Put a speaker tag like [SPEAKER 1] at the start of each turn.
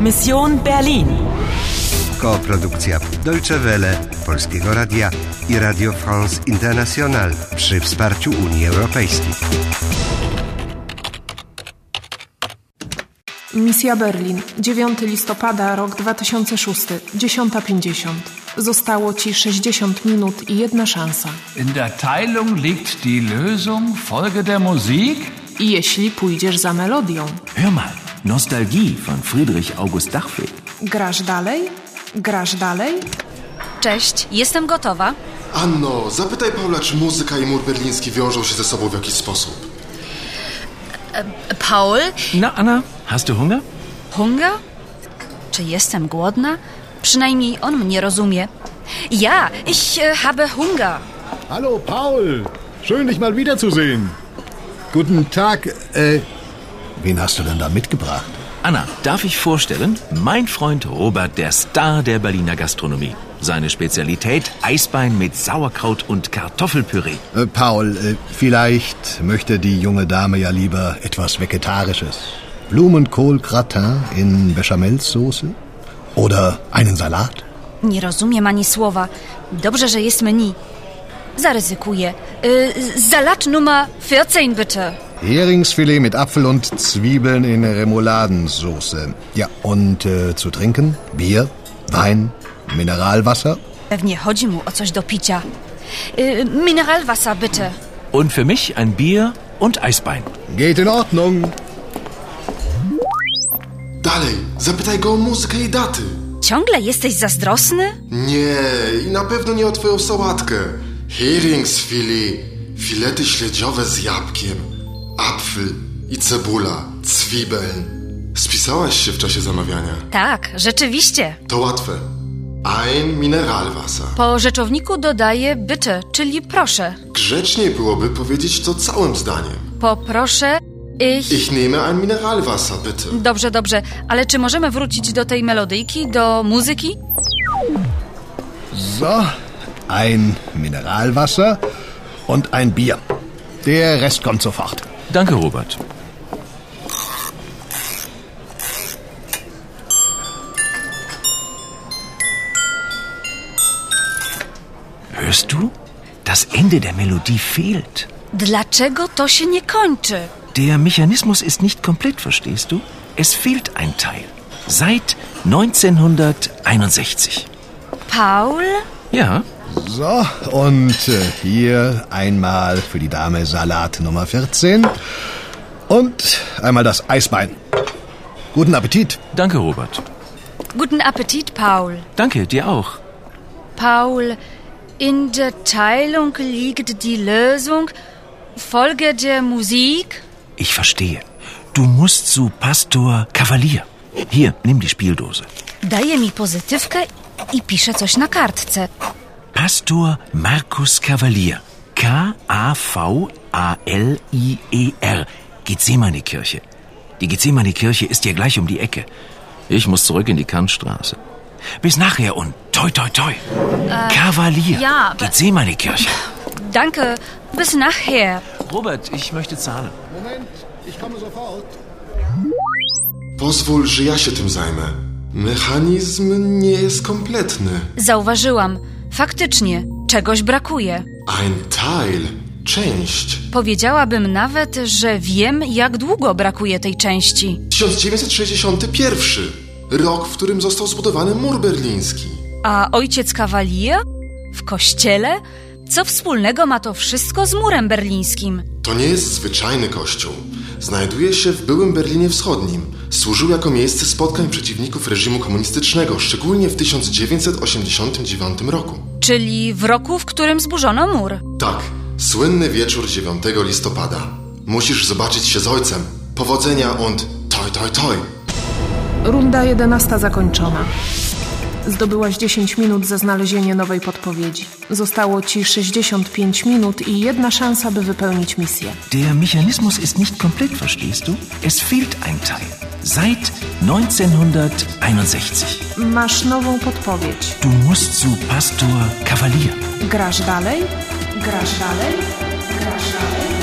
[SPEAKER 1] Mission Berlin.
[SPEAKER 2] Koprodukcja Deutsche Welle, Polskiego Radia i Radio France International przy wsparciu Unii Europejskiej.
[SPEAKER 3] Misja Berlin, 9 listopada, rok 2006, 10.50. Zostało Ci 60 minut i jedna szansa.
[SPEAKER 4] In der Teilung liegt die Lösung. Folge der Musik.
[SPEAKER 3] I jeśli pójdziesz za melodią,
[SPEAKER 5] Hör mal, Nostalgie von Friedrich August Dachfeld.
[SPEAKER 3] grasz dalej, grasz dalej,
[SPEAKER 6] Cześć, jestem gotowa.
[SPEAKER 7] Anno, zapytaj Paula, czy muzyka i mur berliński wiążą się ze sobą w jakiś sposób.
[SPEAKER 6] Paul?
[SPEAKER 5] Na, No, Anna, hast du Hunger?
[SPEAKER 6] Hunger? Czy jestem głodna? Przynajmniej on mnie rozumie. Ja, ich e, habe Hunger.
[SPEAKER 8] Hallo Paul, schön dich mal wiederzusehen. Guten Tag. Äh, wen hast du denn da mitgebracht?
[SPEAKER 5] Anna, darf ich vorstellen? Mein Freund Robert, der Star der Berliner Gastronomie. Seine Spezialität Eisbein mit Sauerkraut und Kartoffelpüree.
[SPEAKER 8] Äh, Paul, äh, vielleicht möchte die junge Dame ja lieber etwas Vegetarisches. Blumenkohl-Gratin in Bechamelsoße? Oder einen Salat?
[SPEAKER 6] Nie rozumiem ani słowa. Dobrze, że jest menu. Zaryzykuję. E, Salat numer 14 bitte.
[SPEAKER 8] Heringsfilet mit Apfel und Zwiebeln in Remouladensauce. Ja, und äh, zu trinken? Bier, Wein, Mineralwasser?
[SPEAKER 6] Pewnie chodzi mu o coś do picia. E, Mineralwasser bitte.
[SPEAKER 5] Und für mich ein Bier und Eisbein.
[SPEAKER 8] Geht in Ordnung.
[SPEAKER 7] Dalej, zapytaj go o muzykę i daty.
[SPEAKER 6] Ciągle jesteś zazdrosny?
[SPEAKER 7] Nie, i na pewno nie o twoją sałatkę. Hearings, Fili, filety śledziowe z jabłkiem, apfel i cebula, cwibel. Spisałaś się w czasie zamawiania.
[SPEAKER 6] Tak, rzeczywiście.
[SPEAKER 7] To łatwe. Ein Mineralwasser.
[SPEAKER 6] Po rzeczowniku dodaję bitte, czyli proszę.
[SPEAKER 7] Grzeczniej byłoby powiedzieć to całym zdaniem.
[SPEAKER 6] Poproszę ich.
[SPEAKER 7] Ich nehme ein Mineralwasser, bitte.
[SPEAKER 6] Dobrze, dobrze, ale czy możemy wrócić do tej melodyjki, do muzyki?
[SPEAKER 8] So, ein Mineralwasser und ein Bier. Der Rest kommt sofort.
[SPEAKER 5] Danke, Robert. Hörst du? Das Ende der Melodie fehlt.
[SPEAKER 6] Dlaczego to się nie kończy?
[SPEAKER 5] Der Mechanismus ist nicht komplett, verstehst du? Es fehlt ein Teil. Seit 1961.
[SPEAKER 6] Paul?
[SPEAKER 5] Ja,
[SPEAKER 8] So, und äh, hier einmal für die Dame Salat Nummer 14 und einmal das Eisbein. Guten Appetit.
[SPEAKER 5] danke, Robert.
[SPEAKER 6] Guten Appetit, Paul.
[SPEAKER 5] Danke, dir auch.
[SPEAKER 6] Paul, in der Teilung liegt die Lösung. Folge der Musik?
[SPEAKER 5] Ich verstehe. Du musst zu Pastor Kavalier. Hier, nimm die Spieldose.
[SPEAKER 6] Daje mi pozytywkę i pisze coś na kartce.
[SPEAKER 5] Pastor Markus Kavalier. K-A-V-A-L-I-E-R. E Gethsemane-Kirche. Die Gethsemane-Kirche ist hier gleich um die Ecke. Ich muss zurück in die Kantstraße. Bis nachher und toi toi toi. Kavalier.
[SPEAKER 6] Äh, ja, aber-
[SPEAKER 5] Gethsemane-Kirche.
[SPEAKER 6] Danke, bis nachher.
[SPEAKER 5] Robert, ich möchte zahlen.
[SPEAKER 8] Moment, ich komme sofort.
[SPEAKER 7] Pozwól, że ja się tym zajmę. Mechanizm nie jest kompletny.
[SPEAKER 6] Zauważyłam, faktycznie, czegoś brakuje.
[SPEAKER 7] Ein Teil, część.
[SPEAKER 6] Powiedziałabym nawet, że wiem, jak długo brakuje tej części.
[SPEAKER 7] 1961. Rok, w którym został zbudowany mur berliński.
[SPEAKER 6] A ojciec Kawalier? W kościele? Co wspólnego ma to wszystko z murem berlińskim?
[SPEAKER 7] To nie jest zwyczajny kościół. Znajduje się w byłym Berlinie Wschodnim. Służył jako miejsce spotkań przeciwników reżimu komunistycznego, szczególnie w 1989 roku.
[SPEAKER 6] Czyli w roku, w którym zburzono mur.
[SPEAKER 7] Tak, słynny wieczór 9 listopada. Musisz zobaczyć się z ojcem. Powodzenia und toi toi toi.
[SPEAKER 3] Runda 11 zakończona. Zdobyłaś 10 minut za znalezienie nowej podpowiedzi. Zostało ci 65 minut i jedna szansa, by wypełnić misję.
[SPEAKER 5] Der Mechanismus ist nicht komplett, verstehst du? Es fehlt ein Teil. Seit 1961.
[SPEAKER 3] Masz nową podpowiedź.
[SPEAKER 5] Du musst zu Pastor Kavalier.
[SPEAKER 3] Grasz dalej, grasz dalej, grasz dalej.